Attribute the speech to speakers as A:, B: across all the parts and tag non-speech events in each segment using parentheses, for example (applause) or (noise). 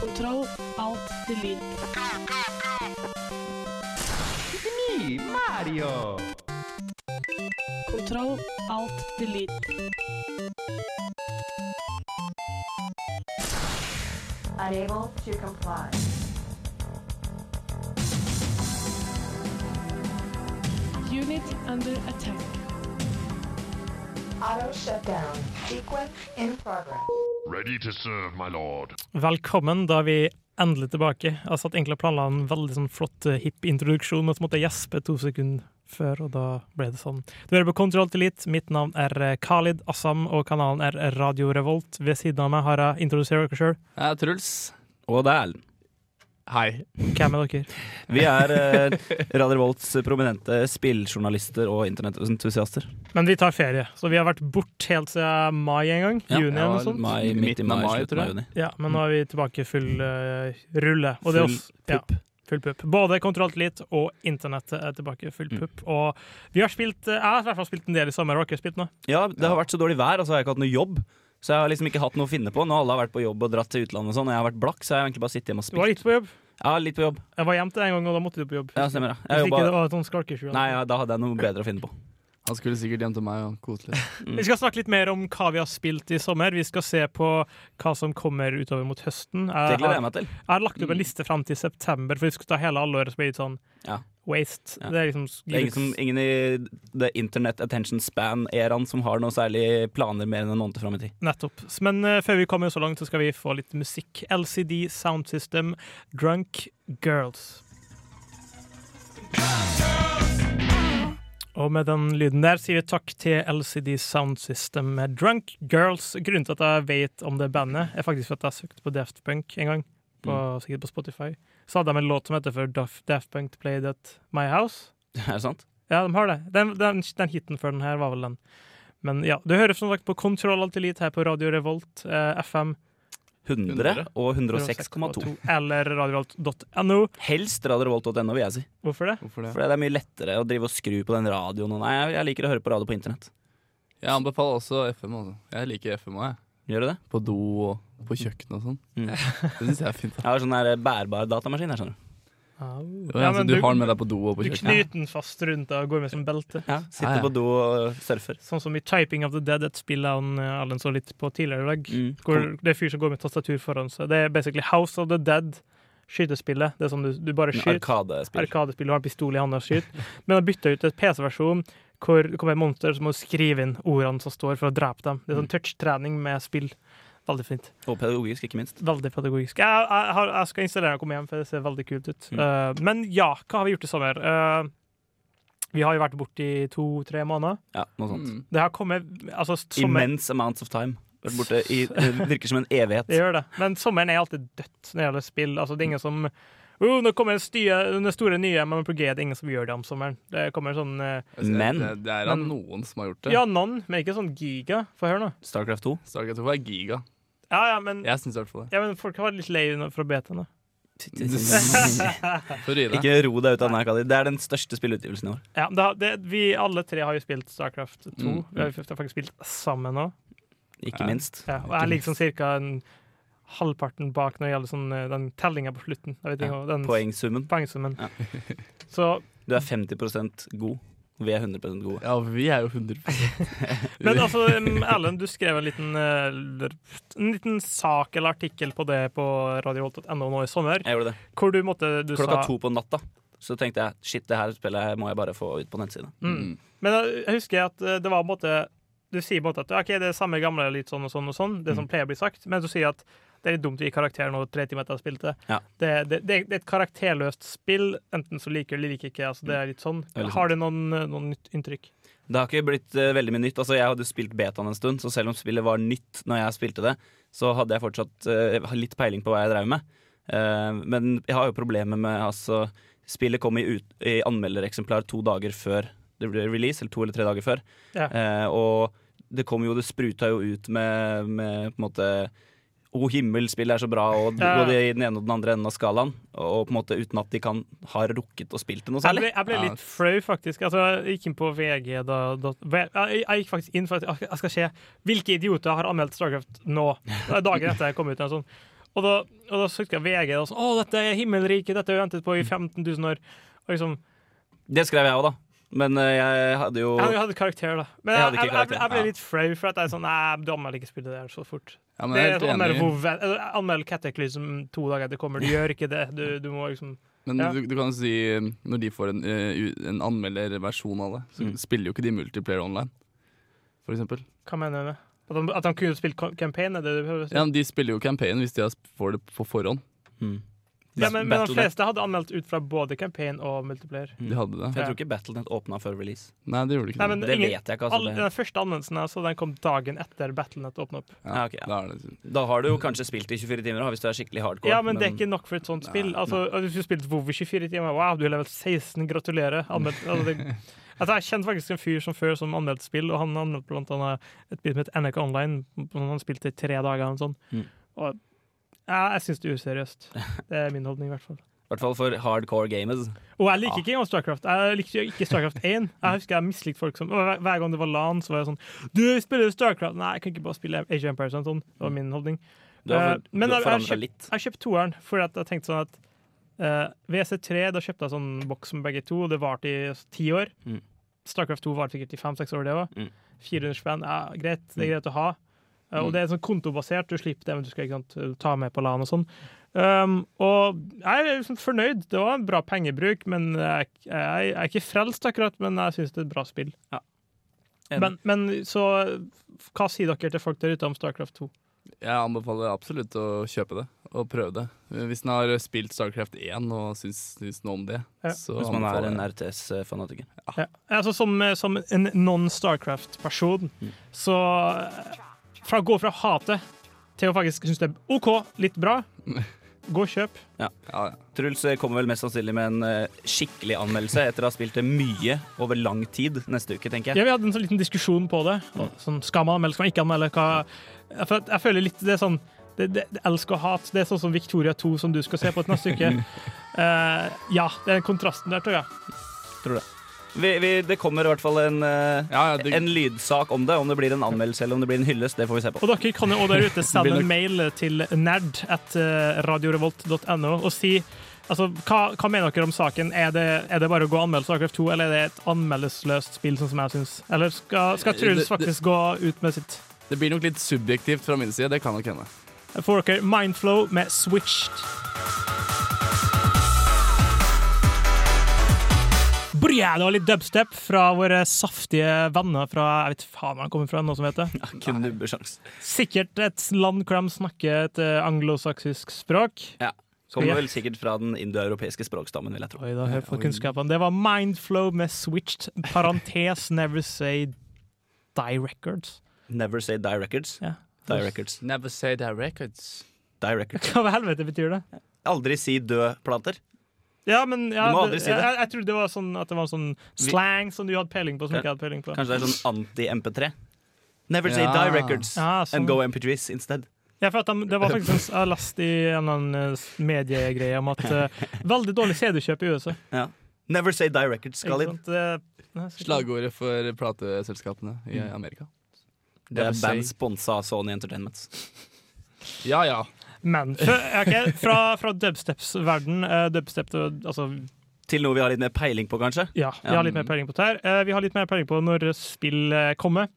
A: Kontroll, alt, delete.
B: It's me, Mario!
A: Kontroll, alt, delete.
C: Unable to comply.
A: Unit under attack.
C: Auto shutdown. Sequence in progress.
D: Ready to serve, my lord.
E: Velkommen, da er vi endelig tilbake. Jeg satt egentlig og planla en veldig sånn flott, eh, hipp introduksjon, men så måtte jeg gjespe to sekunder før, og da ble det sånn. Du hører på Kontroll til Elite. Mitt navn er eh, Khalid Assam, og kanalen er eh, Radio Revolt. Ved siden av meg har jeg introduserer dere sjøl.
F: Jeg er Truls.
G: Og det er Erlend.
F: Hei.
E: Hvem er dere?
G: Vi er eh, Radio Volts prominente spilljournalister og internettentusiaster.
E: Men vi tar ferie, så vi har vært bort helt siden mai en gang. juni eller noe sånt.
G: Mai, midt i
F: Midten av
G: mai,
F: mai,
G: slutten
F: tror
G: av
F: jeg.
G: juni.
E: Ja, men nå er vi tilbake full eh, rulle. Og det er
G: Full
E: også, pupp. Ja, full pupp. Både Kontroll Elite og internettet er tilbake
G: Mm.
E: full pupp. Og vi har spilt, eh, jeg har i hvert fall spilt en del i sommer. Har dere spilt noe?
G: Ja, det har vært så dårlig vær, og så har jeg ikke hatt noe jobb. Så jeg har liksom ikke hatt noe å finne på. Nå har alle vært på jobb og dratt til utlandet og sånn, og jeg har vært blakk, så jeg har egentlig bare sittet hjemme og
E: Du var
G: spilt.
E: litt på jobb.
G: Ja, litt på jobb.
E: Jeg var hjemme til deg en gang, og da måtte du på jobb.
G: Ja, stemmer det.
E: Hvis
G: Jeg
E: ikke det
G: jobba
E: var sånn skalkeskjul.
G: Nei, ja, da hadde jeg noe bedre å finne på.
F: Han skulle sikkert hjem til meg og kose litt.
E: Vi skal snakke litt mer om hva vi har spilt i sommer. Vi skal se på hva som kommer utover mot høsten.
G: Det
E: Jeg
G: gleder jeg
E: har,
G: meg til. Mm.
E: jeg har lagt opp en liste fram til september, for vi skulle ta hele halvåret, så blir det litt sånn
G: Ja.
E: waste.
G: Ja.
E: Det er liksom
G: Det er ingen, som, ingen i the internet attention span-æraen som har noe særlig planer mer enn en måned fram i tid.
E: Nettopp. Men eh, før vi kommer så langt, så skal vi få litt musikk. LCD Sound System, Drunk Girls. Og med den lyden der sier vi takk til LCD Sound System med Drunk Girls. Grunnen til at jeg vet om det bandet, er faktisk for at jeg søkte på Daft Punk en gang. På, Sikkert på Spotify. Så hadde de en låt som heter for Daf- Daft Punk Played at My House.
G: Er det sant?
E: Ja, de har det. Den, den, den hiten før den her var vel den. Men ja, du hører som sagt på Kontroll Alt Elite her på Radio Revolt, eh, FM
G: 100 og 106,2.
E: Eller radiorevolt.no.
G: Helst radiorevolt.no, vil jeg si.
E: Hvorfor det?
F: Hvorfor det?
G: For det er mye lettere å drive og skru på den radioen. og- Nei, jeg, jeg liker å høre på radio på internett.
F: Jeg anbefaler også FM. altså. Jeg liker FM òg, jeg.
G: Gjør du det?
F: På do og på kjøkken og sånn.
G: Mm.
F: Det syns jeg er fint. da.
G: Jeg har sånn der bærbar datamaskin. Jeg skjønner
F: Jo, ja, så du, har den med deg på do og
E: du
F: på kjøkkenet.
E: knyter den fast rundt deg og går med som belte.
G: ja, Sitter
F: Ja, ja.
G: på do og surfer.
E: Sånn som i Typing of the Dead, et spill jeg og Allen så litt på tidligere i dag.
G: Mm.
E: Hvor det er fyr som går med tastatur foran seg. Det er basically House of the Dead, skytespillet. Det er sånn du, du bare
G: En
E: skyter.
G: Arkadespill.
E: Arkadespill, du har en pistol i hånda og skyter. Men jeg bytta ut et PC-versjon hvor det kommer et monster, så må du skrive inn ordene som står, for å drepe dem. Det er sånn touch-trening med spill. Veldig fint.
G: Og pedagogisk, ikke minst.
E: Veldig pedagogisk. Jeg, jeg, har- jeg skal installere den og komme hjem, for det ser veldig kult ut. Eh, men ja, hva har vi gjort i sommer? Eh, vi har jo vært borte i to-tre måneder.
G: Ja, noe sånt.
F: Mm.
E: Det har kommet altså, sommer,
G: Immense amounts of time. Vært borte i, det virker som en
E: (laughs)
G: evighet.
E: Det gjør det. Men sommeren er alltid dødt når det gjelder spill. Altså, det er ingen som oh, nå kommer den stye- den store nye MMPG, det er ingen som gjør det om sommeren. Det kommer sånn eh,
F: Jeg synes
G: Men-
F: det, det er da
E: Men-
F: noen som har gjort det.
E: Ja, noen, men ikke sånn giga. Få høre nå.
G: Starcraft 2.
F: Stargate 2 er giga.
E: Ja, ja, men, ja.
F: Jeg syns i hvert fall
E: (laughs)
F: det.
E: men folk har vært litt lei nå fra betaen. da.
F: For å gi deg.
G: Ikke ro deg ut av den her, Det er den største spillutgivelsen i år.
E: Ja, det, har- det, vi alle tre har jo spilt Starcraft 2.
F: Mm.
E: Vi har jo faktisk spilt sammen òg.
G: Ikke
F: Ja.
G: minst.
E: Ja, og jeg ligger sånn ca. halvparten bak når det gjelder sånn, eh, den tellinga på slutten. Jeg vet ikke, hva- den
G: Poengsummen.
E: poengsummen.
G: Ja.
E: (laughs) Så
G: Du er 50 god. Vi er 100 gode.
F: Ja, vi er jo 100
E: Men altså,
G: (laughs)
E: em, Erlend, du skrev en liten, eh, en liten sak eller artikkel på det på radioholt.no nå i sommer,
G: Jeg gjorde det.
E: hvor du måtte du
G: Klokka
E: sa,
G: to på natta så tenkte jeg shit, det her spillet må jeg bare få ut på nettsida.
E: Mm. Men jeg jeg husker at eh, det var på en måte Du sier på en måte at ok, det er samme gamle, litt sånn og sånn og sånn, det som pleier å bli sagt, men du sier at det er litt dumt å gi karakter nå tre timer etter at jeg spilte.
G: Ja.
E: Det, det, det, er- det er et karakterløst spill. Enten så liker du eller liker ikke. Altså, det er litt sånn.
G: er veldig
E: Har du noen, eh, noen nytt inntrykk?
G: Det har ikke blitt eh, veldig mye nytt. Altså, jeg hadde spilt betaen en stund, så selv om spillet var nytt når jeg spilte det, så hadde jeg fortsatt eh, litt peiling på hva jeg drev med. Eh, men jeg har jo problemer med altså Spillet kom i, ut, i anmeldereksemplar to dager før det ble release, eller to eller tre dager før.
E: Ja.
G: Eh, og det kom jo, det spruta jo ut med, med på en måte O himmel-spill er så bra, og d-
E: Ja.
G: både i den ene og den andre enden av skalaen. Og på en måte uten at de kan har rukket å spilt det noe
E: Jeg ble,
G: særlig.
E: jeg ble
F: Ja.
E: litt flau, faktisk. Altså, jeg gikk inn på VG da, da jeg, jeg gikk faktisk inn for at jeg skal se hvilke idioter har anmeldt Starcraft nå. Det er Dagen etter jeg kom ut. eller noe sånt. Og da, og da søkte jeg VG. Og sånn, å, dette er himmelriket, dette har jeg ventet på i 15 000 år. Og liksom,
G: Det skrev jeg òg, da. Men eh, jeg hadde jo
E: jeg hadde- jeg hadde karakter, da. Men
G: Jeg
E: jeg,
G: hadde ikke
E: jeg, jeg, ble,
G: karakter,
E: jeg ble
G: ja.
E: litt flau, for at jeg er sånn Nei, du anmelder ikke spillet der så fort.
F: Ja, men
E: Det
F: jeg
E: er
F: er
E: sånn, anmeld,
F: helt enig.
E: WoW- eller anmeld Cataclysm to dager etter det
G: (laughs)
E: kommer. Du gjør ikke det. Du, du må liksom
F: Men
E: Ja.
F: du, du kan jo si, eh, når de får en, eh, u- en anmelderversjon av det, så spiller jo ikke de multiplayer online, for eksempel.
E: Hva mener du med at han, at han kunne spilt ka- campaign? Er det du prøver å si?
F: Ja, men de spiller jo campaign hvis de har sp- får det på forhånd.
G: Mm.
E: Ja, men, men de
G: Battle.net.
E: fleste hadde anmeldt ut fra både campaign og multiplayer.
G: Mm.
F: De hadde det.
G: Jeg tror ikke Battlenet åpna før release.
F: Nei, det gjorde de ikke.
E: Nei, men
G: Det
E: ingen,
G: vet jeg ikke.
E: alle,
G: Altså,
E: den første anmeldelsen jeg så, den kom dagen etter Battlenet åpna opp.
F: det.
G: ja, ok, ja.
F: Da er det. liksom,
G: det. Da har du jo kanskje spilt i 24 timer, da, hvis du er skikkelig hardcore.
E: Ja, men det er ikke nok for et sånt spill.
F: Nei,
E: Altså, Hvis du spilte WoW i 24 timer, wow, du er level 16, gratulerer.
G: (laughs)
E: Anmeldt, altså, det, altså, jeg kjente faktisk en fyr som før som anmeldte spill, og han anmeldte blant annet et spill som het NRK Online, som han spilte i tre dager eller noe sånt.
G: Mm.
E: Og ja, jeg syns det er
G: (laughs)
E: useriøst. Det er min holdning, i hvert fall.
G: I hvert fall for hardcore gamers.
E: Og jeg liker
G: Ja.
E: ikke engang Starcraft. Jeg likte jo ikke Starcraft 1. Jeg husker jeg mislikte folk som og Hver hver gang det var LAN, så var jeg sånn Du, spiller du Starcraft? Nei, jeg kan ikke bare spille Age of Empires. og Sånn. Det var min holdning.
G: Du har,
E: Eh,
G: for,
E: men
G: du har
E: jeg- jeg
G: forandra
E: kjøpt-
G: litt.
E: Jeg kjøpte toeren fordi at jeg tenkte sånn at eh, WC3, da kjøpte jeg sånn boks med begge to. Det varte i ti år.
G: Mm.
E: Starcraft 2 varte sikkert i fem-seks år, det òg.
G: Mm.
E: 400 spenn, ja, greit. Det er greit å ha. Eh, og det er sånn kontobasert, du slipper det, men du skal ikke sant, ta med på LAN og sånn. Um, og jeg er liksom fornøyd. Det var en bra pengebruk, men jeg, jeg, jeg er ikke frelst akkurat, men jeg syns det er et bra spill.
G: Enig.
E: Men, men så hva sier dere til folk der ute om Starcraft 2?
F: Jeg anbefaler absolutt å kjøpe det og prøve det. Hvis en har spilt Starcraft 1 og syns, syns noe om det,
E: Ja.
F: så
G: Hvis man er
F: anbefaler
G: en
F: jeg.
G: RTS-fanatiker.
E: Ja. Altså, som, som en non-Starcraft-person, så eh, fra å gå fra hate til å faktisk synes det er OK, litt bra, gå og kjøp.
F: Ja, ja.
G: Truls eh, kommer vel mest sannsynlig med en eh, skikkelig anmeldelse etter å ha spilt det mye over lang tid neste uke, tenker jeg.
E: Ja, vi hadde en sånn liten diskusjon på det. Sånn, skal man anmelde, skal man ikke anmelde? Hva? Ja, For at jeg føler litt det er sånn det, det, det er elsk og hat. Det er sånn som Victoria 2, som du skal se på et neste uke. Eh, ja, det er den kontrasten der, tror jeg.
G: Vi, vi, det kommer i hvert fall en, eh,
F: ja, ja det,
G: en lydsak om det. Om det blir en anmeldelse eller om det blir en hyllest, det får vi se på.
E: Og dere kan jo også der ute sende en mail til nerd at eh, radiorevolt.no og si altså, hva, hva mener dere om saken. Er det, er det bare å gå og anmelde Starcraft 2, eller er det et anmeldesløst spill, sånn som jeg syns? Eller skal, skal Truls
F: Eh, Det- det-
E: faktisk gå ut med sitt?
F: det blir nok litt subjektivt fra min side. Det kan nok hende.
E: Jeg får dere Mindflow med Switched. Brja, det var litt dubstep fra våre saftige venner fra Jeg vet faen hvor han kommer fra, noe som heter.
G: Ja, Knubbesjans.
E: Sikkert et land hvor de snakker et eh, anglosaksisk språk.
G: Ja. Kommer vel sikkert fra den indoeuropeiske språkstammen, vil jeg tro.
E: Oi, da hører folk kunnskapene. Det var Mindflow med Switched, parentes Never Say Die Records.
G: Never say Die Records.
E: Ja.
G: Die Records.
F: Never say that records.
G: Die Records.
E: Hva i helvete betyr det?
G: Aldri si død-plater.
E: Ja, men ja,
G: Du må aldri si det.
E: Jeg, jeg, jeg trodde det var sånn at det var sånn slang som du hadde peiling på, som ikke jeg hadde peiling på.
G: Kanskje det er sånn anti-MP3. Never say
F: Ja.
G: Die Records
E: Ja, sånn.
G: and go MP3s instead.
E: Ja, for at de, det var faktisk en s- jeg leste i en eller annen eh, s- mediegreie om at
G: (laughs)
E: eh, veldig dårlig CD-kjøp i USA.
G: Ja. Never say Die Records skal inn.
E: Slag.
F: Slagordet for plateselskapene i Amerika.
G: Det er
F: Never say-
G: band sponsa av Sony Entertainment.
F: Ja ja.
E: Men fø- ok, fra, fra dubsteps-verden eh, Dubstep, det- altså
G: Til noe vi har litt mer peiling på, kanskje.
E: Ja, vi har litt mer peiling på det her. Eh, Vi har litt mer peiling på når spill eh, kommer.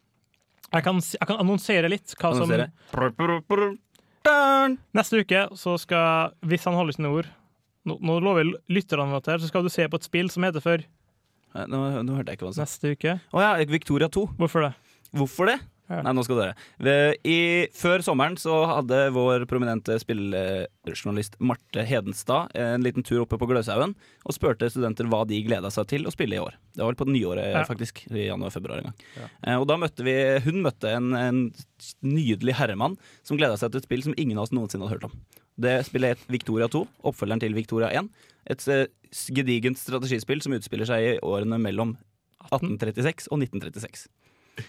E: Jeg kan, si- jeg kan annonsere litt. Hva som,
G: Annonsere. Prr, prr, prr. Dun!
E: neste uke så skal, hvis han holder sine ord Nå, nå lover jeg lytterne våre her, så skal du se på et spill som heter for
G: Nei, Nå, nå hørte jeg ikke hva han sa.
E: neste uke.
G: Å ja, Victoria 2.
E: Hvorfor det?
G: Hvorfor det?
E: Ja.
G: Nei, nå skal dere. Ved- I, før sommeren så hadde vår prominente spillejournalist Marte Hedenstad en liten tur oppe på Gløshaugen og spurte studenter hva de gleda seg til å spille i år. Det var vel på det nye året,
E: Ja.
G: faktisk. I januar-februar en gang. Eh, Og da møtte vi Hun møtte en, en nydelig herremann som gleda seg til et spill som ingen av oss noensinne hadde hørt om. Det spillet het Victoria 2, oppfølgeren til Victoria 1. Et eh, s- gedigent strategispill som utspiller seg i årene mellom 1836 og 1936.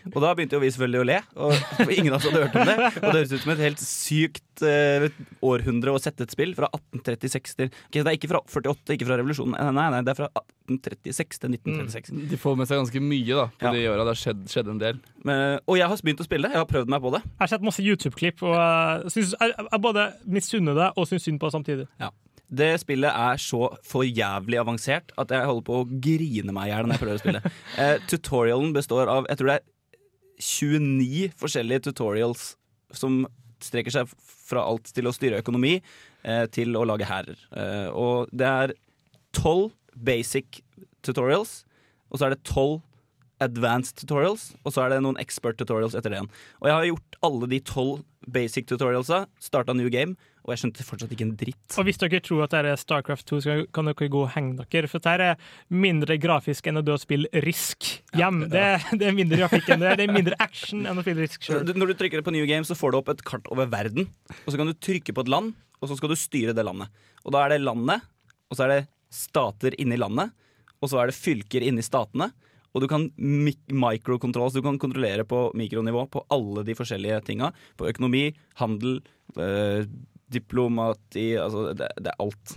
G: Og da begynte jo vi selvfølgelig å le, og (laughs) ingen av oss hadde hørt om det. Og det høres ut som et helt sykt eh, århundre å sette et spill fra 1836 til Ok, Det er ikke fra 48, ikke fra revolusjonen, Eh, nei, nei, nei det er fra 1836 til 1936.
F: De får med seg ganske mye da på
G: Ja.
F: de åra. Det har skjedd, skjedd en del.
G: Men, og jeg har begynt å spille det, jeg har prøvd meg på det.
E: Jeg har sett masse YouTube-klipp, og jeg, synes, jeg, jeg både misunner deg og syns synd på deg samtidig.
G: Det spillet er så for jævlig avansert at jeg holder på å grine meg i hjel når jeg prøver å spille. Eh, tutorialen består av jeg tror det er 29 forskjellige tutorials som strekker seg fra alt til å styre økonomi eh, til å lage hærer. Eh, og det er 12 basic tutorials, og så er det 12 advanced tutorials, og så er det noen expert tutorials etter det igjen. Og jeg har gjort alle de 12 basic tutorialsa, starta new game, og jeg skjønte fortsatt ikke en dritt.
E: Og hvis dere tror at det er Starcraft 2, så kan dere gå og henge dere. For dette er mindre grafisk enn å dø og spille Risk hjem. Det, er- det er mindre grafikk enn det er. Det er mindre action enn å spille Risk sjøl.
G: Du, når du trykker på New Game, så får du opp et kart over verden. Og så kan du trykke på et land, og så skal du styre det landet. Og da er det landet, og så er det stater inni landet, og så er det fylker inni statene. Og du kan mik- microcontrol, så du kan kontrollere på mikronivå på alle de forskjellige tinga. På økonomi, handel, eh, diplomati Altså, det, det er alt.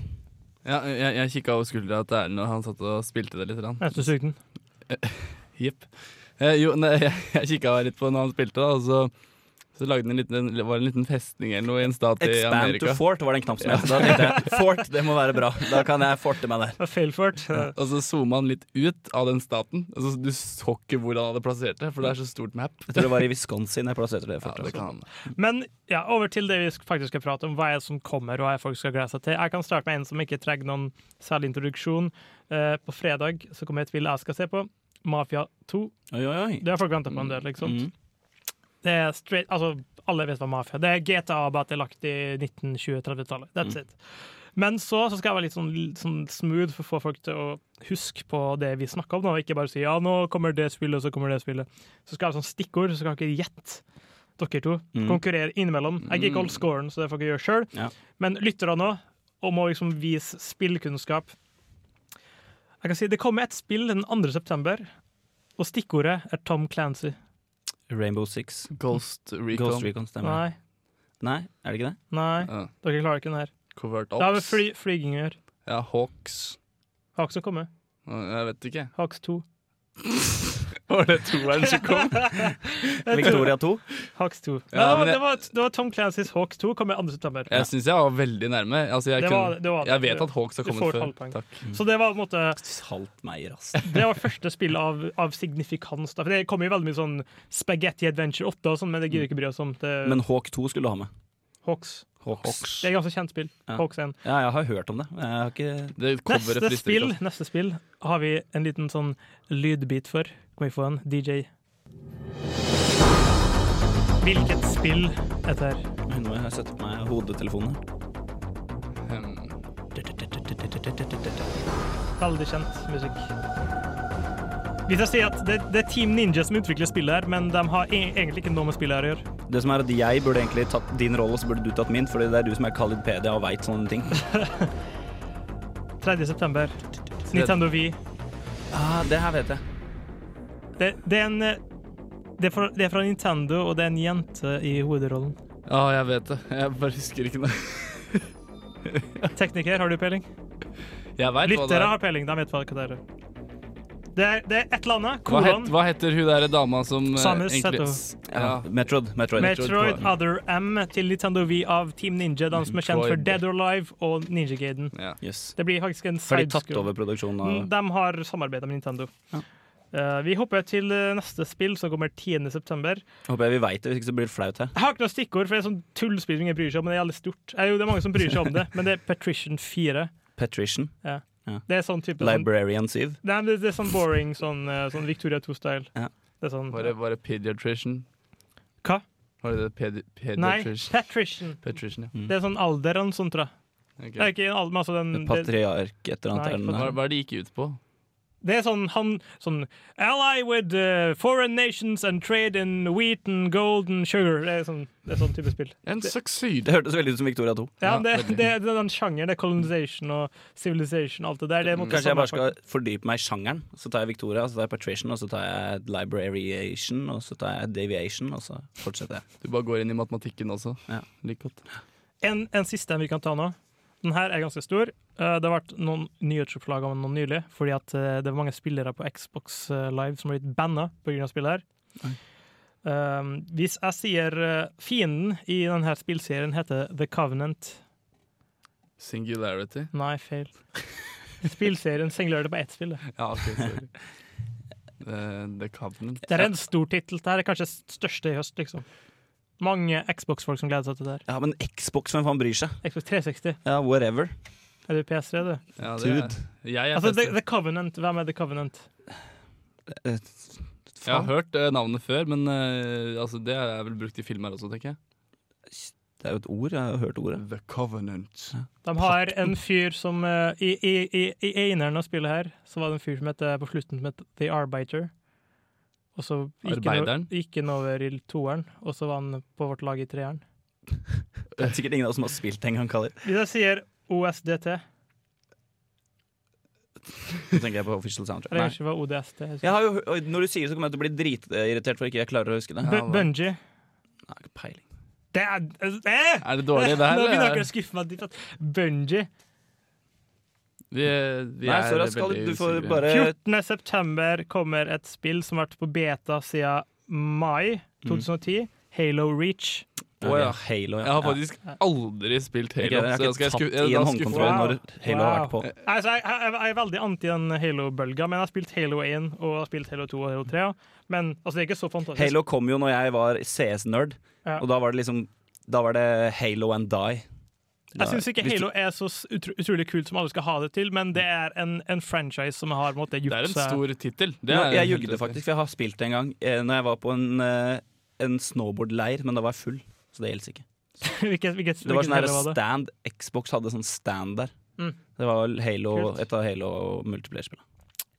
F: Ja, jeg jeg kikka over skuldra til Erlend, og han satt og spilte det litt. grann.
E: Jeg synes den.
F: Jepp. Eh, jo, nei, (laughs) jeg, jeg kikka litt på når han spilte, da, og så, så lagde han en liten, det var en liten festning eller noe i en stat i
G: Expand to
F: Amerika.
G: fort var det en knapp som het. Da tenkte
F: (laughs)
G: jeg fort, det må være bra. Da kan jeg forte meg der.
E: Det var Fail for it.
F: Og så zooma han litt ut av den staten. Og så Du så ikke hvor han hadde plassert det, for det er så stort map.
G: Jeg tror det var i Wisconsin jeg plasserte det
F: Ja,
G: fortet.
F: det kan han.
E: Men ja, over til det vi sk- faktisk skal prate om. Hva er det som kommer, og hva er det folk skal glede seg til? Jeg kan starte med en som ikke trenger noen særlig introduksjon. Eh, på fredag så kommer et spill jeg skal se på. Mafia 2.
G: Oi, oi, oi.
E: Det har folk venta på en del, liksom.
G: Mm.
E: Det er straight, altså, alle vet hva mafia er. Det er GTA, bare at det er lagt i 1920-30-tallet.
G: Mm.
E: That's it. Men så, så skal jeg være litt sånn, sånn smooth for å få folk til å huske på det vi snakker om, nå, og ikke bare si ja, nå kommer det spillet, og så kommer det spillet. Så skal jeg ha sånn stikkord, så skal dere gjette. Dere to
G: Mm.
E: konkurrere innimellom. Jeg gikk old scoren, så det får dere gjøre sjøl.
G: Ja.
E: Men lytterne nå, og må liksom vise spillkunnskap. Jeg kan si Det kommer et spill den 2. september, og stikkordet er Tom Clancy.
G: Rainbow Six.
F: Ghost Recon.
G: Ghost Recon stemmer.
E: Nei,
G: Nei, er det ikke det?
E: nei,
F: Ja.
E: dere klarer ikke den her.
F: Covert
E: Det har med
F: Ops.
E: fly, flyging å gjøre.
F: Ja, Hawks.
E: Har også kommet.
F: Ja, Jeg vet (laughs) ikke.
E: Hawks 2.
F: (laughs) Var det toeren
G: (laughs)
F: som
E: (laughs)
F: kom?
G: Victoria 2.
E: Hawks 2. Nei, det,
F: Ja,
E: var,
F: men jeg-
E: det, var, det var Tom Clancys Hawks 2, kommer 2. september.
F: Jeg syns jeg var veldig nærme. Altså, jeg,
E: Det
F: kunne,
E: var det- det var det.
F: jeg vet at Hawks har
E: Du får et
F: kommet før.
E: halvpoeng.
F: Takk.
E: Så det var på en måte
G: Salt meg, ass.
E: Det var første spill av, av signifikans. Da. For Det kommer jo veldig mye sånn Spaghetti Adventure 8, og sånn, men det
F: Mm.
E: gidder vi ikke bry oss om. Det,
G: Men Hawk 2 skulle du ha med.
E: Hawks.
G: Hawks.
E: Det er et ganske kjent spill.
G: Ja.
E: Hawks 1.
G: Ja, jeg har hørt om det. men Jeg har ikke
F: Det coveret
E: Neste
F: frister
E: spill,
F: ikke.
E: neste spill har vi en liten sånn lydbit for. Kan vi få en DJ? Hvilket spill er dette her?
G: Nå må jeg sette på meg hodetelefonene.
F: Hmm.
E: Veldig kjent musikk. Hvis jeg sier at det, det er Team Ninja som utvikler spillet her, men de har e egentlig ikke noe med spillet her å gjøre.
G: Det som er at Jeg burde egentlig tatt din rolle, og så burde du tatt min, fordi det er du som er Khalidpedia og veit sånne ting.
E: 3. september. Nintendo Wii.
G: (laughs) Ah, det her vet jeg.
E: Det, det, er en, eh, det, er fra, det er fra Nintendo, og det er en jente i hovedrollen.
F: Ja, Ah, jeg vet det. Jeg bare husker ikke noe.
E: Tekniker, har du peiling?
F: Jeg vet hva det
E: Lyttere
F: er.
E: har peiling, de vet hva det er. Det er, det er et eller annet.
F: Hva, het,
E: Kolon.
F: hva heter hun derre dama som eh,
E: Samus
F: egentlig-
E: Seto.
F: Ja.
G: Metrod. Metroid.
E: Metroid
F: Metroid
E: Other M til Nintendo V av Team Ninja, de som er kjent for
F: Metroid.
E: Dead or Alive og Ninja Gaiden.
F: ja.
G: Yes.
E: Det blir faktisk en
G: Har de tatt
E: sidescroll.
G: over produksjonen av
E: De har samarbeida med Nintendo.
G: Ja.
E: Eh, vi hopper til eh, neste spill, som kommer 10. september.
G: Håper jeg vi veit det, hvis ikke så blir det flaut her.
E: Jeg har ikke noe stikkord, for det er sånn tullspill ingen bryr seg om. Men det er jævlig stort. Eh, jo, det er mange som bryr seg om det, men det er Patrician 4.
G: Patrician.
E: Det er sånn type sånn,
G: Librarian 7.
E: Nei, men det, det er sånn boring, sånn, eh, sånn Victoria 2-style.
G: Ja.
E: Det er sånn
F: Var det, var det pediatrician?
E: Hva?
F: Var det det pedi
E: Nei,
F: pediatrician?
E: patrician.
F: Patrician, ja.
E: Det er sånn alderen, sånn, tror jeg.
F: Ok.
E: Det er ikke en alder, men altså den det,
G: Mm, Patriark, et eller
E: Nei,
G: annet.
F: Hva,
G: er den-
F: hva er det de gikk ut på?
E: Det er sånn, han, sånn Ally with eh, foreign nations and trade in wheat and gold and sugar. Det er sånn, det er sånn type spill.
F: En suksess.
G: Det hørtes veldig ut som Victoria 2.
E: Ja,
F: Ja,
E: det, det,
F: veldig.
E: det er den sjangeren. Det er colonization og civilization og alt det der. Det er på en måte
G: Kanskje jeg
E: samme
G: bare skal fordype meg i sjangeren. Så tar jeg Victoria, så tar jeg Patrician, og så tar jeg Librariation, og så tar jeg Deviation, og så fortsetter jeg.
F: Du bare går inn i matematikken også.
G: Ja.
F: Like godt.
E: En, en siste en vi kan ta nå. Den her er ganske stor. Eh, Det har vært noen nyhetsoppslag om den nylig, fordi at eh, det var mange spillere på Xbox eh, Live som har blitt banna pga. spillet her. Um, hvis jeg sier eh, fienden i denne spillserien heter The Covenant
F: Singularity.
E: Nei, feil. Spillserien singler det på ett spill. det.
F: Ja,
G: (laughs)
F: ok, sorry. The, the Covenant.
E: Det er en stor tittel. Det her er kanskje største i høst, liksom. Mange Xbox-folk som gleder seg til det her.
G: Ja, men Xbox, hvem faen bryr seg?
E: Xbox 360.
G: Ja, whatever.
E: Er du PS3, du?
F: Ja, det er, jeg, er
E: Altså, The,
F: festet.
E: The Covenant. Hvem er The Covenant?
G: Eh,
F: jeg har
G: Faen.
F: hørt eh, navnet før, men eh, altså, det er vel brukt i filmer også, tenker jeg.
G: Det er jo et ord, jeg har hørt
F: (laughs)
G: ordet.
F: The Covenant.
E: De har en fyr som eh, I, i, i, i eneren av spillet her Så var det en fyr som heter, på slutten som het The Arbiter. Og så gikk han over-
F: Arbeideren?
E: gikk han over i toeren, og så var han på vårt lag i treeren.
G: Det er sikkert ingen av oss som har spilt en gang, Kaller.
E: Hvis jeg sier OSDT Jeg
G: Nå tenker jeg på official soundtrack. Nei.
E: vet ikke hva ODST er.
G: Jeg har jo, hø- oi, når du sier det, så kommer jeg til å bli dritirritert for ikke jeg klarer å huske det.
E: Bu-
F: hva-
E: Bungie.
G: Nei, ikke peiling.
E: Det er eh!
F: Er det dårlig, det her?
E: (laughs)
F: eh,
E: Nå begynner
F: eller?
E: dere å skuffe meg. dypt. Bungie.
F: Vi, vi
G: Nei,
F: er
G: sorry, skal
F: veldig
G: du får
F: usikre.
G: bare
E: 14. september kommer et spill som har vært på beta siden mai
F: Mm.
E: 2010. Halo Reach.
G: Å ja, Halo,
F: Jeg har faktisk aldri spilt
G: Ok,
F: Halo.
G: jeg har
F: så
G: ikke
F: skal jeg
G: tatt
F: sku- jeg-
G: i
F: da
G: en
F: skuffer
G: håndkontroll
E: Wow.
G: når Halo har vært på.
E: Wow. Altså, jeg, jeg, jeg er veldig anti den Halo-bølga, men jeg har spilt Halo 1 og jeg har spilt Halo 2 og Halo 3. ja. Men altså, det er ikke så fantastisk.
G: Halo kom jo når jeg var CS-nerd,
E: Ja.
G: og da var det liksom Da var det Halo and Die. Da-
E: jeg syns ikke
G: hvis
E: Halo er så s- utro utrolig kult som alle skal ha det til, men det er en, en franchise som har på en måte,
F: Det er
E: gjort
F: en
E: seg
F: stor tittel. Det
G: Nå,
F: er
G: jeg
F: helt
G: jugde
F: riktig.
G: faktisk, for jeg har spilt det en gang eh, Når jeg var på en, eh, en snowboardleir, men da var jeg full. Så det gjelder ikke.
E: (laughs) hvilket, hvilket,
G: Det var
E: hvilket
G: sånn her
E: Halo var det?
G: stand. Xbox hadde sånn stand der.
E: Mm.
G: Det var vel Halo,
E: Kult.
G: et av Halo-multiplierspillene.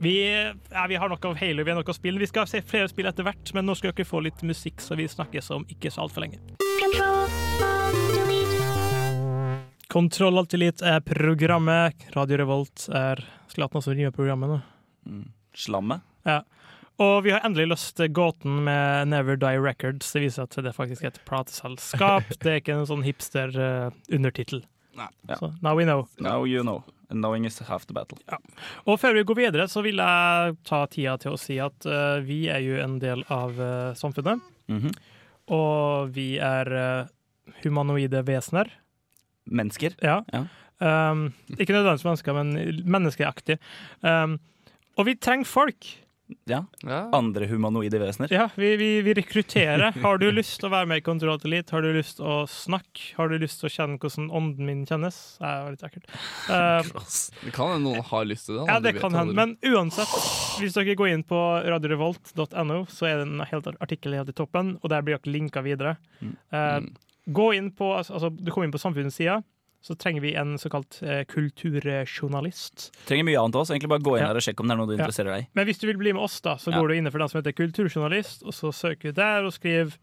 E: Vi, ja, vi har nok av Halo, vi har nok av spill. Vi skal se flere spill etter hvert, men nå skal dere få litt musikk, så vi snakkes om ikke så altfor lenge. Kontroll alt elite er programmet. Radio Revolt er Zlatan som rimer programmet nå.
G: Slammet.
E: Og vi har endelig løst gåten med Never Die Records. Det viser at det faktisk er et plateselskap. Det er ikke en sånn hipster-undertittel.
F: Nei.
G: Ja.
E: Så now we know.
G: Now you know. And knowing is half the battle.
E: Og før vi går videre, så vil jeg ta tida til å si at eh, vi er jo en del av eh, samfunnet.
G: Mhm.
E: Og vi er eh, humanoide vesener.
G: Mennesker.
E: Ja.
G: Ja.
E: Um, ikke nødvendigvis mennesker, men menneskeaktig. Um, og vi trenger folk.
G: Ja.
F: Ja.
G: Andre humanoide vesener.
E: Ja, vi, vi, vi rekrutterer. Har du lyst til å være med i Kontroll til Elite? Har du lyst til å snakke? Har du lyst til å kjenne hvordan ånden min kjennes? Det var litt ekkelt. Um,
F: Det kan hende noen har lyst til det. da.
E: ja,
F: Du
E: det
F: vet
E: kan
F: aldri.
E: hende. Men uansett, hvis dere går inn på radiorevolt.no, så er det en helt artikkel helt i toppen, og der blir dere linka videre. Eh,
F: Mm.
E: gå inn på, altså, altså, du kommer inn på samfunnets side, så trenger vi en såkalt eh, kulturjournalist.
G: Trenger mye annet av oss. Egentlig bare gå inn
E: Ja.
G: her og sjekke om det er noe du
E: Ja.
G: interesserer deg i.
E: Men hvis du vil bli med oss, da, så
G: Ja.
E: går du inn for den som heter kulturjournalist, og så søker du der og skriver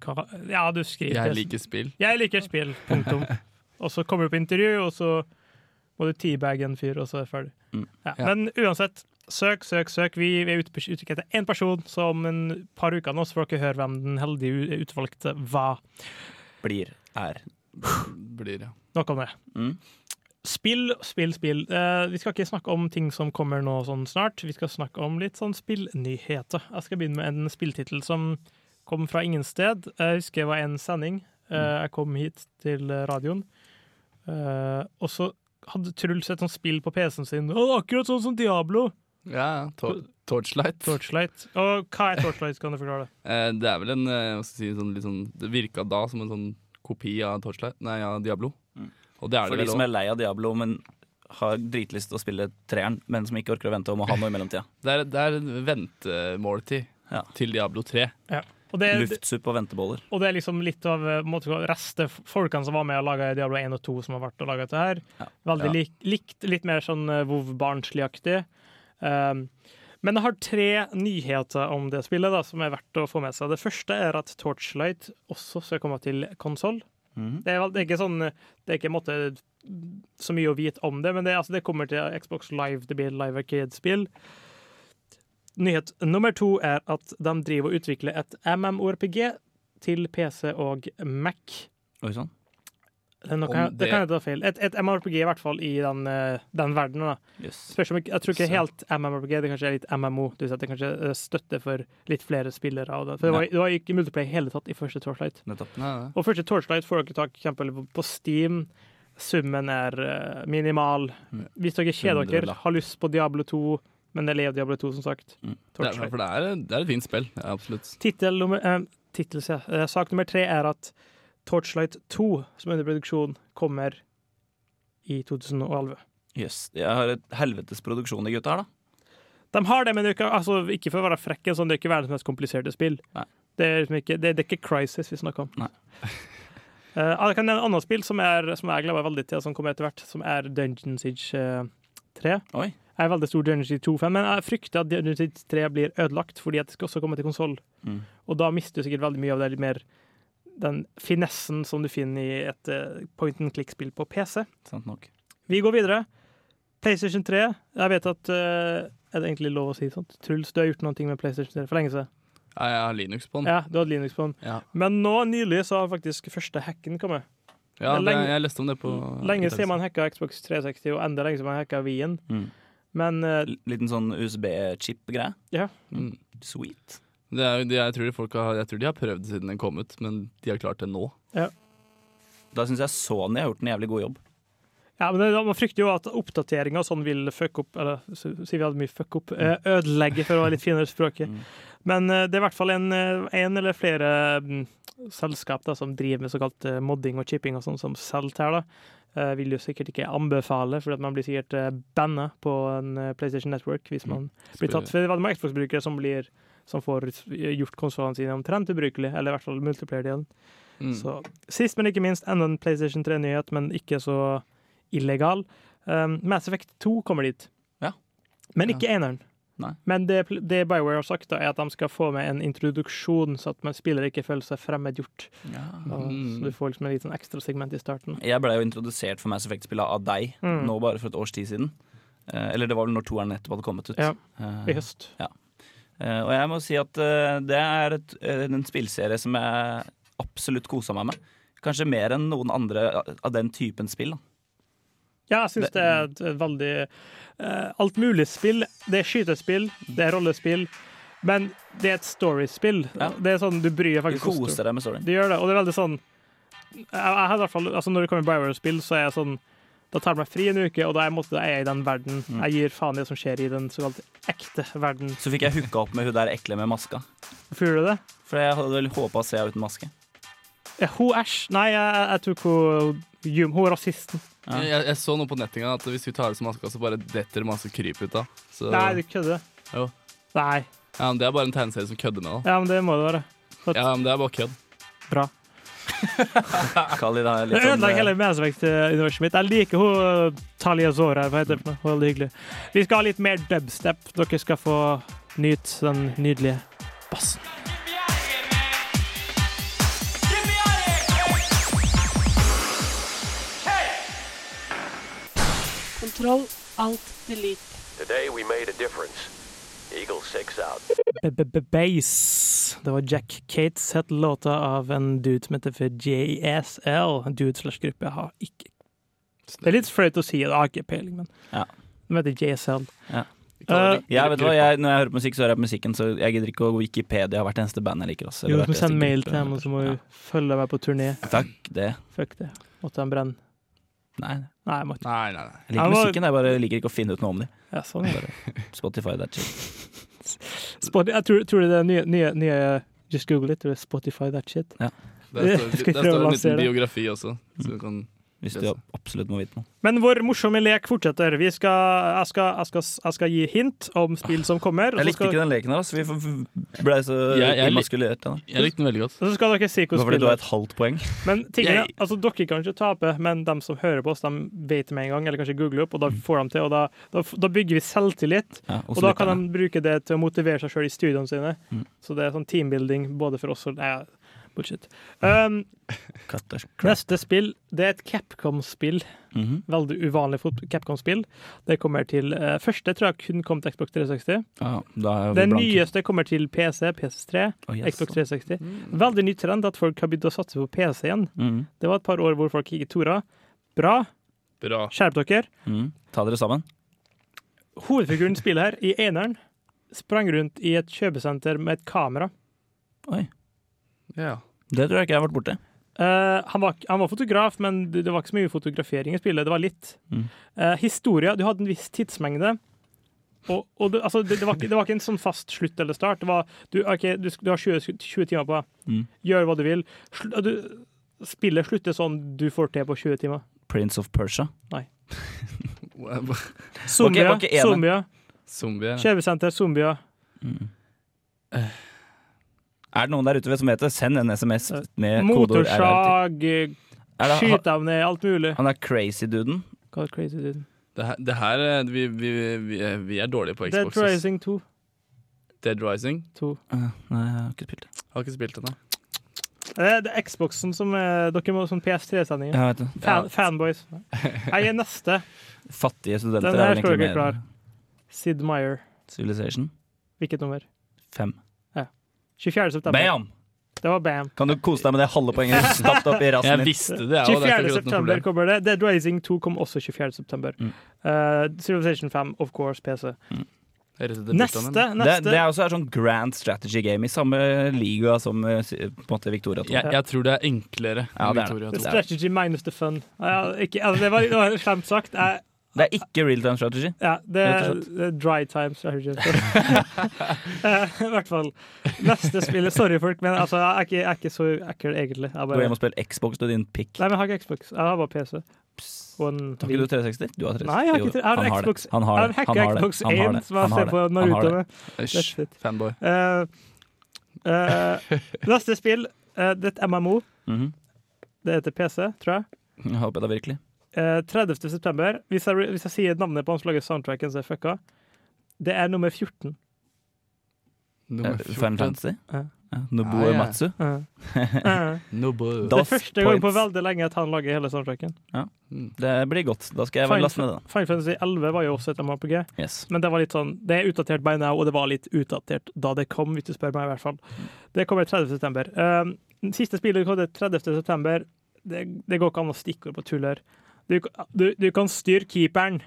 E: hva, Ja, du skriver
F: Jeg
E: det som-
F: liker spill.
E: Jeg liker spill, punktum.
F: (laughs)
E: Og så kommer du på intervju, og så må du teabagge en fyr, og så er det ferdig.
G: Mm.
E: Ja.
F: Ja.
E: Men uansett, søk, søk, søk. Vi vi er ute på utkikk etter én person, så om en par uker nå så får dere høre hvem den heldige u- utvalgte var.
G: Blir. Er.
F: Blir, ja.
E: Nok om det.
G: Mm.
E: Spill, spill, spill. Eh, vi skal ikke snakke om ting som kommer nå sånn snart. Vi skal snakke om litt sånn spillnyheter. Jeg skal begynne med en spilltittel som kom fra ingen sted. Jeg husker det var en sending. Eh, jeg kom hit til radioen, Eh, og så hadde Truls et sånt spill på PC-en sin. Å, akkurat sånn som Diablo!
F: ja tor Torchlight.
E: Torchlight. Og hva er Torchlight, kan du forklare det?
F: Eh, det er vel en eh, hva skal jeg si, sånn, litt sånn Det virka da som en sånn kopi av Torchlight Nei, av Diablo. Og det er
G: Mm. For
F: det
G: de
F: vel
G: som
F: også.
G: er lei av Diablo, men har dritlyst til å spille treeren, men som ikke orker å vente og må ha noe i mellomtida.
F: Det er, det er en ventemåltid
G: Ja.
F: til Diablo 3.
E: Og (laughs) det,
G: Luftsuppe og venteboller.
E: Og det er liksom litt av eh, måte, reste folkene som var med og laga Diablo 1 og 2, som har vært og laga dette her.
G: Ja.
E: Veldig
G: Ja.
E: lik, likt, litt mer sånn eh, WoW barnslig-aktig. Um, men jeg har tre nyheter om det spillet da, som er verdt å få med seg. Det første er at Torchlight også skal komme til konsoll.
F: Mhm.
E: Det, er vel- det er ikke sånn Det er ikke en måte, så mye å vite om det, men det, altså, det kommer til Xbox Live. Det blir et Live Arcade-spill. Nyhet nummer to er at de driver og utvikler et MMORPG til PC og Mac.
G: Oi
F: sånn.
G: sann.
E: Det, nå
F: Om
E: kan, jeg- det
F: det-
E: kan jeg ta feil. Et, et MMORPG i hvert fall i den, eh, den verdenen. da.
G: Jøss.
E: Spørs om ikke, jeg tror ikke
F: Så-
E: helt MMORPG, det kanskje er litt MMO. Du sier at det kanskje er støtte for litt flere spillere. Og det. For det var, det var ikke multiplayer i hele tatt i første Torchlight.
G: Nettopp.
F: Nei, nei.
E: Og første Torchlight får dere tak for eksempel på Steam. Summen er eh, minimal.
F: Mm.
E: Hvis dere kjeder dere,
F: Hundrelapp.
E: har lyst på Diablo 2, men det er av Diablo 2, som sagt.
G: Mm.
F: Det er,
E: Torchlight.
F: for det er, det er et fint spill. Ja, absolutt.
E: Tittel nummer, eh, tittel, sier jeg. Eh, sak nummer tre er at Torchlight 2, som er under produksjon, kommer i 2011.
G: Jøss. Jeg har et helvetes produksjon, de gutta her, da.
E: De har det, men det er ikke, altså, ikke for å være frekk, sånn, det er ikke verdens mest kompliserte spill.
G: Nei.
E: Det, er liksom ikke, det, det er ikke Crisis vi snakker om.
G: Nei.
E: (laughs) Eh, jeg kan nevne et annet spill som, er, som jeg gleder meg veldig til, som kommer etter hvert, som er Dungeon Siege eh, 3.
G: Oi.
E: Jeg er veldig stor Dungeon Siege 2-fan, men jeg frykter at Dungeon Siege 3 blir ødelagt, fordi at det skal også komme til konsoll.
G: Mm.
E: Og da mister du sikkert veldig mye av det litt mer den finessen som du finner i et eh, point and click-spill på PC.
G: Sant nok.
E: Vi går videre. PlayStation 3. Jeg vet at eh, Er det egentlig lov å si sånt? Truls, du har gjort noe med PlayStation 3 for lenge siden.
F: Ja, jeg har Linux på den.
E: Ja, du hadde Linux på den.
F: Ja.
E: Men nå nylig så har faktisk første hacken kommet.
F: Ja, det,
E: Lenge- Mm.
F: jeg leste om det på
E: Lenge siden man hacka Xbox 360, og enda lenge siden man hacka Wien.
G: Mm.
E: Men eh,
G: L- Liten sånn USB-chip-greie.
F: Mm.
G: Sweet.
F: Det er, jo- de, jeg, tror de folk har, jeg tror de har prøvd siden den kom ut, men de har klart det nå.
G: Da syns jeg Sony har gjort en jævlig god jobb.
E: ja, men det, man frykter jo at oppdateringer og sånn vil fuck opp Eller så- sier vi hadde mye fuck opp? eh, ødelegge, for å være litt finere i språket.
G: Mm.
E: Men eh, det er i hvert fall en, eh, en eller flere mm, selskap da, som driver med såkalt eh, modding og chipping og sånn, som selger her. da. Eh, vil jo sikkert ikke anbefale, for at man blir sikkert eh, banna på en eh, PlayStation Network hvis man blir tatt. For det er veldig mange Xbox-brukere som, blir- som får gjort konsollene sine omtrent ubrukelige, eller i hvert fall multiplayer-delen.
F: Mm.
E: Så sist, men ikke minst, enda en PlayStation 3-nyhet, men ikke så illegal. Um, Mass Effect 2 kommer dit.
G: Ja.
E: Men ikke eneren.
G: Nei.
E: Men det, det Bioware har sagt, da, er at de skal få med en introduksjon, så at man spiller ikke føler seg fremmedgjort. Og-
F: Mm.
E: Så du får liksom en liten ekstra segment i starten.
G: Jeg blei jo introdusert for Mass Effect-spillet av deg
E: Mm.
G: nå bare for et års tid siden. Eh, eller det var vel når toeren nettopp hadde kommet ut.
E: Ja,
G: Eh,
E: I høst.
G: eh, og jeg må si at eh, det er et, eh, en spillserie som jeg absolutt kosa meg med. Kanskje mer enn noen andre eh, av den typen spill. Da.
E: Ja, jeg syns
G: Det-
E: det er et veldig eh, alt mulig spill. Det er skytespill, det er rollespill, men det er et storyspill.
G: Ja.
E: Det er sånn du bryr
G: Du
E: deg faktisk om
G: koste deg med storyen.
E: Det gjør det, og det er veldig sånn jeg, jeg har i hvert fall, altså Når det kommer Bioware-spill, så er jeg sånn Da tar jeg meg fri en uke, og da er jeg, måtte, da er jeg i den verden. Jeg gir faen i det som skjer i den såkalt ekte verden.
G: Så fikk jeg hooka opp med hun der ekle med maska.
E: Føler du det?
G: For jeg hadde vel håpa å se henne uten maske.
E: Ja, Hun æsj. Nei, jeg, jeg tok hun Jum. Hun er rasisten.
G: Ja.
F: Jeg, jeg så noe på nettinga at hvis vi tar det som maska, så bare detter det masse kryp ut av. Så,
E: Nei, du kødder.
F: Jo.
E: Nei.
F: ja, men det er bare en tegneserie som kødder med det.
E: Ja, men det må det være.
F: da. Ja, men det er bare kødd.
E: Bra.
G: Khalid har
E: Det
G: litt sånn
E: ødelegger
G: eh,
E: hele medvektsuniverset mitt. Jeg liker hun eh, Talia Zora. Hva heter det? for noe? Hun er Veldig hyggelig. Vi skal ha litt mer dubstep. Dere skal få nyte den nydelige bassen.
A: Control Alt Delete.
H: Today we made a difference. Eagle 6 out.
E: B-b-b-bass. Det var Jack Cates het låta av en dude som heter for JSL. En dude slash gruppe. Jeg har ikke Det er litt flaut å si, jeg har ikke peiling, men
G: Ja.
E: de heter E JSL.
F: Kaller det-
G: Jeg vet hva,
F: kryp.
G: jeg, Når jeg hører på musikk, så hører jeg på musikken. Så jeg gidder ikke å Wikipedia hvert eneste band jeg liker. Også,
E: Jo,
G: eller
E: du må
G: hvert eneste
E: sende mail
G: gruppe.
E: til dem, og så må du følge meg på turné.
G: ja. Takk, det.
E: Fuck det. Måtte de brenne.
G: Nei,
E: Nei, jeg må ikke.
F: Nei, nei, nei.
G: jeg liker
E: Jeg må-
G: musikken, jeg bare liker ikke å finne ut noe om
E: (laughs)
G: dem.
E: Ja, sånn er det.
G: Spotify, that's it.
E: (laughs) Spot, jeg tror, tror det er det nye, nye, nye Just google it. Det er Spotify, that shit. (laughs)
F: Der
E: Jeg
F: står,
E: skal
F: der
E: prøve å
F: står en
E: lansere
F: liten
E: det.
F: biografi også. Så du kan
G: Hvis du absolutt må vite noe.
E: Men vår morsomme lek fortsetter. Vi skal, jeg, skal, jeg, skal, jeg skal gi hint om spill som kommer. og
G: Jeg
E: så
G: likte
E: skal-
G: ikke den leken her, så vi får Ble så
F: Jeg- jeg-
G: immaskulert. da.
F: Jeg likte den veldig godt.
E: Så skal dere si
G: Det var
E: hvordan
G: fordi du
E: spillet
G: har et halvt poeng.
E: Men tingene,
F: Jeg-
E: altså Dere kan ikke tape, men de som hører på oss, de vet med en gang, eller kanskje googler opp, og da får de til. og Da, da, f- da bygger vi selvtillit,
G: Ja,
E: og da kan de bruke det til å motivere seg sjøl i studiene sine.
G: Mm.
E: Så det er sånn teambuilding både for oss og Nei, bullshit. Um, neste spill det er et Capcom-spill.
G: Mhm.
E: Veldig uvanlig fot- Capcom-spill. Det kommer til eh, Første tror jeg kun kom til Xbox 360.
F: Ja, da er vi
E: Den
F: blanke.
E: nyeste kommer til PC, PS3,
G: Å, yes.
E: Xbox 360. Veldig ny trend at folk har begynt å satse på PC igjen.
G: Mhm,
E: Det var et par år hvor folk ikke torde. Bra.
F: Bra.
E: Skjerp dere.
G: mhm. Ta dere sammen.
E: Hovedfiguren spiller her, i eneren, sprang rundt i et kjøpesenter med et kamera.
F: Ja.
G: Det tror jeg ikke jeg har vært borti.
E: Eh, han, var, han var fotograf, men det, det var ikke så mye fotografering i spillet. Det var litt.
G: Mm.
E: Eh, historia Du hadde en viss tidsmengde. Og, og det, altså, det, det, var ikke, det var ikke en sånn fast slutt eller start. Det var Du, ok, du, sk- du har 20, sek- 20 timer på deg.
G: Mm.
E: Gjør hva du vil. Sl, du, spillet slutter sånn du får til på 20 timer.
G: Prince of Persia.
E: Zombier.
G: var ikke ene.
E: zombier
F: Zombier.
E: Kjøpesenter, zombier.
G: Mhm. Eh. Er det noen der ute som vet det, send en SMS med kodeord RRT.
E: Eh, Motorsag,
G: Er det-
E: skyte dem ned, alt mulig.
G: Han er crazy-duden.
E: Hva er crazy dude?
F: Det her, det her er- vi, vi, vi, er- vi er dårlige på
E: Dead
F: Xbox. ass.
E: Rising 2.
F: Dead Rising.
G: Eh, Nei, jeg har ikke spilt det.
F: Har ikke spilt den, da.
E: Det er, det er Xboxen som er Dere må sånn PS3-sendinger.
G: Jeg vet det.
E: Fan,
F: (laughs)
E: Fanboys. Jeg er neste.
G: Fattige studenter
E: Den
G: er
E: her
G: vel
E: står
G: egentlig
E: dere
G: mer
E: klar. Sid Meyer.
G: Civilization
E: Hvilket nummer?
G: 5.
E: 24. september.
G: Bam!
E: Det var bam.
G: Kan du kose deg med det halve poenget du
F: (laughs)
G: stappet opp i rassen
F: Jeg
G: din?
F: visste det, jeg, og det
E: 24.
F: er ikke noe
E: september
F: problem.
E: kommer det. Dead Rising 2 kom også 24. september.
G: Mm.
E: Eh, Civilization 5, of course, PC.
F: Jeg rettet det
E: Neste,
F: byttet, men-
G: Det, det
E: neste.
G: er også et sånn grand strategy game i samme liga som eh, si- på en måte Victoria 2.
F: Jeg, jeg tror det er enklere
G: Ja,
F: enn
G: det er
F: Victoria
G: det.
F: to.
E: Strategy minus the fun. Ja, ikke, altså, det var det var slemt sagt. Jeg,
G: Det er ikke real time strategy.
E: Ja, det
G: Rett
E: er,
G: og
E: det er dry times. jeg hører ikke. (laughs) Eh, I hvert fall. Neste spill Sorry, folk, men altså, jeg, er ikke, jeg er ikke så ekkel, egentlig. Jeg,
G: Gå
E: bare,
G: hjem og spill Xbox, du din pikk.
E: nei, men jeg har ikke Xbox. Jeg har bare PC. Og en
G: Har ikke du 360? Du har 360.
E: Nei, jeg har ikke
G: Jo,
E: tre- jeg har
G: han har
E: Xbox-
G: det. Han har
E: jeg har
G: det.
E: en
G: Han
E: hacka
G: har det.
E: Xbox
G: Han har
E: 1
G: det.
E: som jeg
G: Han har
E: ser på
G: det. Han har
E: Naruto
G: det.
E: med.
F: Æsj,
E: That's it.
F: fanboy.
G: (laughs)
E: Eh, eh, neste spill, eh, det er et MMO.
G: Mhm.
E: Det heter PC, tror jeg.
G: Jeg håper det virkelig.
E: Eh, 30. september. Hvis jeg, hvis jeg sier navnet på han som lager soundtracken, så er jeg fucka. Det er nummer 14.
F: Nummer
G: Eh, Final
F: 14.
G: Fantasy?
E: Ja.
G: Ja. Nobuo
F: Ah, ja.
E: (laughs)
G: Matsu? (laughs)
E: Eh. Eh.
F: No boy.
G: Da-
E: Det er
G: Das
E: første gang på
G: Points.
E: veldig lenge at han lager hele soundtracken.
F: Mm.
G: Det blir godt. Da skal jeg
E: Final
G: vel laste ned den.
E: Final Fantasy 11 var jo også et MMOPG,
G: Yes.
E: men det var litt sånn Det er utdatert by now, og det var litt utdatert da det kom, hvis du spør meg, i hvert fall. Det kommer 30. september. Um, siste spillet kom det 30. september. Det, det går ikke an å stikkord på tull her. Du, du, du kan styre keeperen.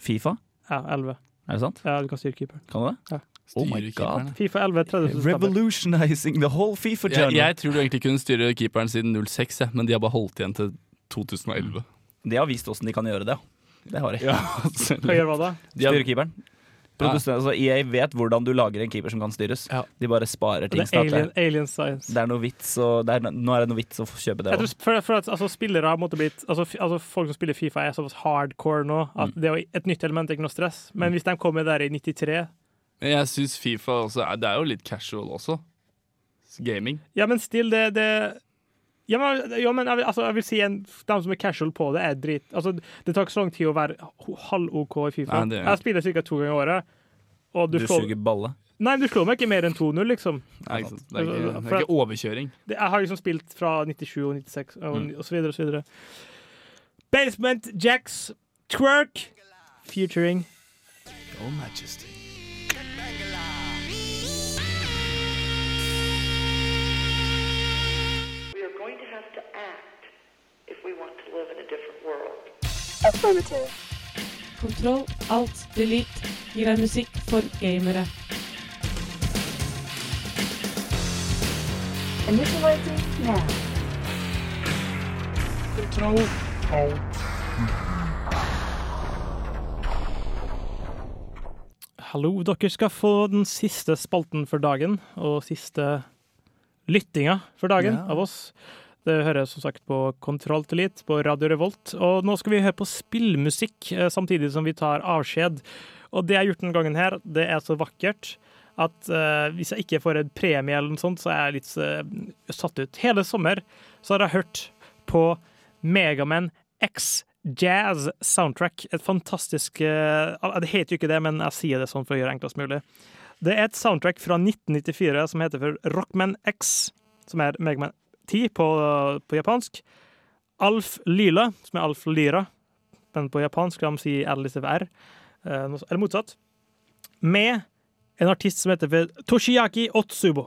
G: Fifa?
E: Ja, 11.
G: Er det sant?
E: Ja, du kan styre keeperen.
G: Kan du det? Oh my
F: Styrer
G: god.
F: keeperen.
E: Fifa 11, 30. september.
G: Revolutionizing the whole Fifa
F: Jeg,
G: journey.
F: jeg tror du egentlig kunne styre keeperen siden 06, jeg, men de har bare holdt igjen til 2011.
G: De har vist åssen de kan gjøre det. Det har de.
E: Hva gjør hva da?
F: de har,
G: Styre keeperen. Produsent- Altså, EA vet hvordan du lager en keeper som kan styres.
F: Ja.
G: De bare sparer ting.
E: Det er
G: snart.
E: alien, alien science.
G: Det er noe vits å- det er, Nå er det noe vits å kjøpe det.
E: Jeg tror
G: også.
E: for, for at altså, spillere har måtte blitt altså, fi- altså Folk som spiller Fifa, er såpass hardcore nå
G: Mm.
E: at det er jo et nytt element er ikke noe stress. Men hvis de kommer der i 93
F: men jeg syns Fifa også er Det er jo litt casual også. Gaming.
E: Ja, men still, det, det ja, men, ja, men jeg vil, altså, jeg vil si en, De som er casual på det, er drit. Altså, det tar ikke så lang tid å være ho- halv-OK i Fifa.
F: Nei, det er-
E: Jeg spiller ca. to ganger i året. Og du,
G: Du
E: slår,
G: suger balle.
E: nei, men du slår meg ikke mer enn 2-0, liksom.
F: Nei, ikke sant? Det, er ikke, det
E: For-
F: er ikke overkjøring.
E: Det, jeg har liksom spilt fra 97 og 96 og, og så videre og så videre. Basement Jacks Twerk featuring
I: We are going to have to act if we want to live in a different world.
A: Kontroll, alt, delete. Gir deg musikk for gamere.
C: Initializing now.
A: Kontroll.
E: Hallo, dere skal få den siste spalten for dagen, og siste lyttinga for dagen
F: Ja.
E: av oss. Det hører som sagt på Kontroll til Litt på Radio Revolt. Og nå skal vi høre på spillmusikk eh, samtidig som vi tar avskjed. Og det jeg har gjort denne gangen her, det er så vakkert at eh, hvis jeg ikke får en premie eller noe sånt, så er jeg litt eh, satt ut. Hele sommer så har jeg hørt på Megaman X Jazz Soundtrack. Et fantastisk eh, al- Det heter jo ikke det, men jeg sier det sånn for å gjøre det enklest mulig. Det er et soundtrack fra 1994 som heter for Rockman X, som er Megaman 10 på, på japansk. Alf Lyla, som er Alf Lyra, men på japansk kan de si L istedenfor R. eh, noe så- Eller motsatt. Med en artist som heter for Toshiaki Otsubo.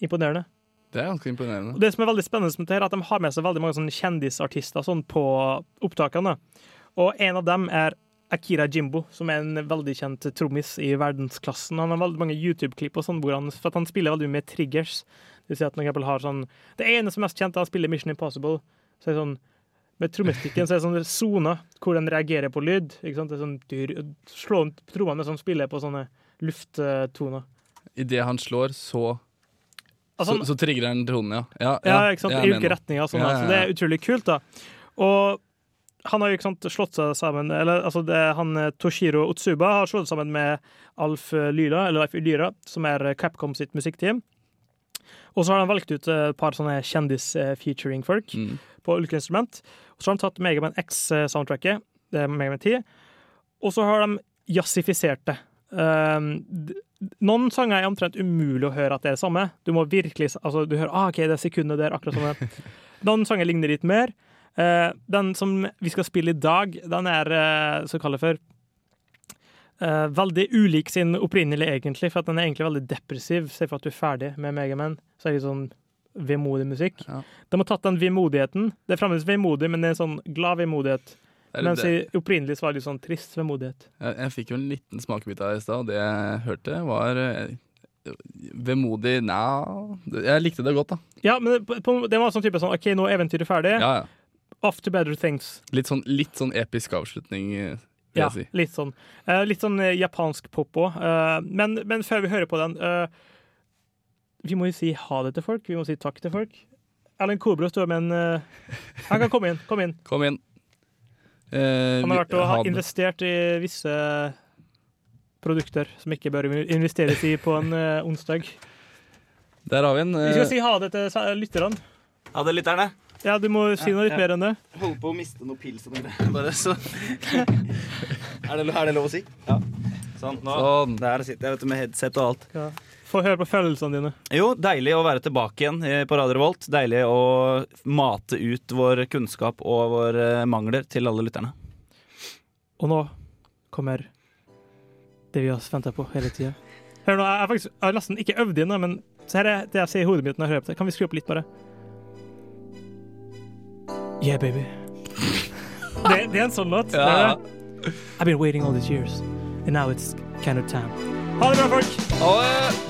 E: Imponerende.
F: Det er ganske imponerende.
E: Og det som er veldig spennende med det her, er at de har med seg veldig mange sånne kjendisartister sånn på opptakene. Og en av dem er Akira Jimbo, som er en veldig kjent trommis i verdensklassen. Han har veldig mange YouTube-klipp og sånn, hvor han, for at han spiller veldig mye med triggers. Det, vil si at han for eksempel har sånn, det ene som er mest kjent, er at han spiller Mission Impossible. Så er det sånn, med trommestikken så er det sånne soner hvor den reagerer på lyd. Ikke sant? Det er sånn dyr, slå trommene som spiller på sånne lufttoner.
F: Idet han slår, så
E: Altså, han-
F: så, så trigger han tonen, ja. Ja,
E: Ja, ikke sant?
F: jeg
E: I
F: mener.
E: ulike retninger. og Sånn,
F: Ja, ja,
E: altså.
F: ja.
E: Det er utrolig kult, da. Og han har jo ikke sant, slått seg sammen Eller altså, det, han eh, Toshiro Otsuba har slått seg sammen med Alf Lyra, eller Alf Lyra, som er eh, Capcom sitt musikkteam. Og så har han valgt ut eh, et par sånne kjendis-featuring-folk
F: Mm.
E: på ulike instrument. Og så har de tatt Megaman X-soundtracket, det er eh, Megaman 10, og så har de jazzifisert det. Ehm, d- noen sanger er omtrent umulig å høre at det er det samme. Du må virkelig, s- altså du hører ah, ok, det er sekundet der, akkurat som det. Noen sanger ligner litt mer. Eh, den som vi skal spille i dag, den er eh, så kall det for eh, veldig ulik sin opprinnelige, egentlig, for at den er egentlig veldig depressiv. Se for at du er ferdig med Megaman, så er det litt sånn vemodig musikk.
F: Ja.
E: De har tatt den vemodigheten. Det er fremdeles vemodig, men det er en sånn glad vemodighet.
F: Det er litt
E: Mens
F: det.
E: i opprinnelig så var det litt sånn trist vemodighet.
F: Jeg, jeg fikk jo en liten smakebit av det i stad, og det jeg hørte, var eh, vemodig Nja Jeg likte det godt, da.
E: Ja, men det, på, på- det var sånn type sånn OK, nå er eventyret ferdig.
F: Ja, ja.
E: Off to better things.
F: Litt sånn, litt sånn episk avslutning, eh, vil
E: Ja,
F: jeg si.
E: litt sånn. Eh, litt sånn eh, japansk pop òg. men, men før vi hører på den eh, Vi må jo si ha det til folk. Vi må si takk til folk. Erlend Kobro står med en eh, Han kan komme inn. Kom inn.
F: Kom inn. Eh,
E: Han har vært
F: vi- (laughs)
E: og har
F: han-
E: investert i visse produkter som ikke bør investeres i på en eh, onsdag.
F: Der har vi en.
E: Vi skal
F: eh,
E: si ha det til sa- lytterne.
G: Ha det, lytterne.
E: Ja, du må si noe litt mer enn det.
G: Holder på å miste noe pils og noe greier. Bare (laughs) så er, det, er det lov å si? Ja. Sånn. Nå.
F: Sånn.
G: Der sitter jeg vet du, med headset og alt.
E: Ja. Få høre på følelsene dine.
G: Jo, deilig å være tilbake igjen eh, på Radio Revolt. Deilig å mate ut vår kunnskap og våre eh, mangler til alle lytterne.
E: Og nå kommer det vi har venta på hele tida. Hør nå, jeg har faktisk jeg har nesten ikke øvd inn, men så her er det jeg ser i hodet mitt når jeg hører på det. Kan vi skru opp litt, bare? Yeah, baby. Det, det er en sånn låt.
F: Ja.
E: Det er det. I've been waiting all these years, and now it's kind of time. Ha det bra, folk!
F: Å, eh,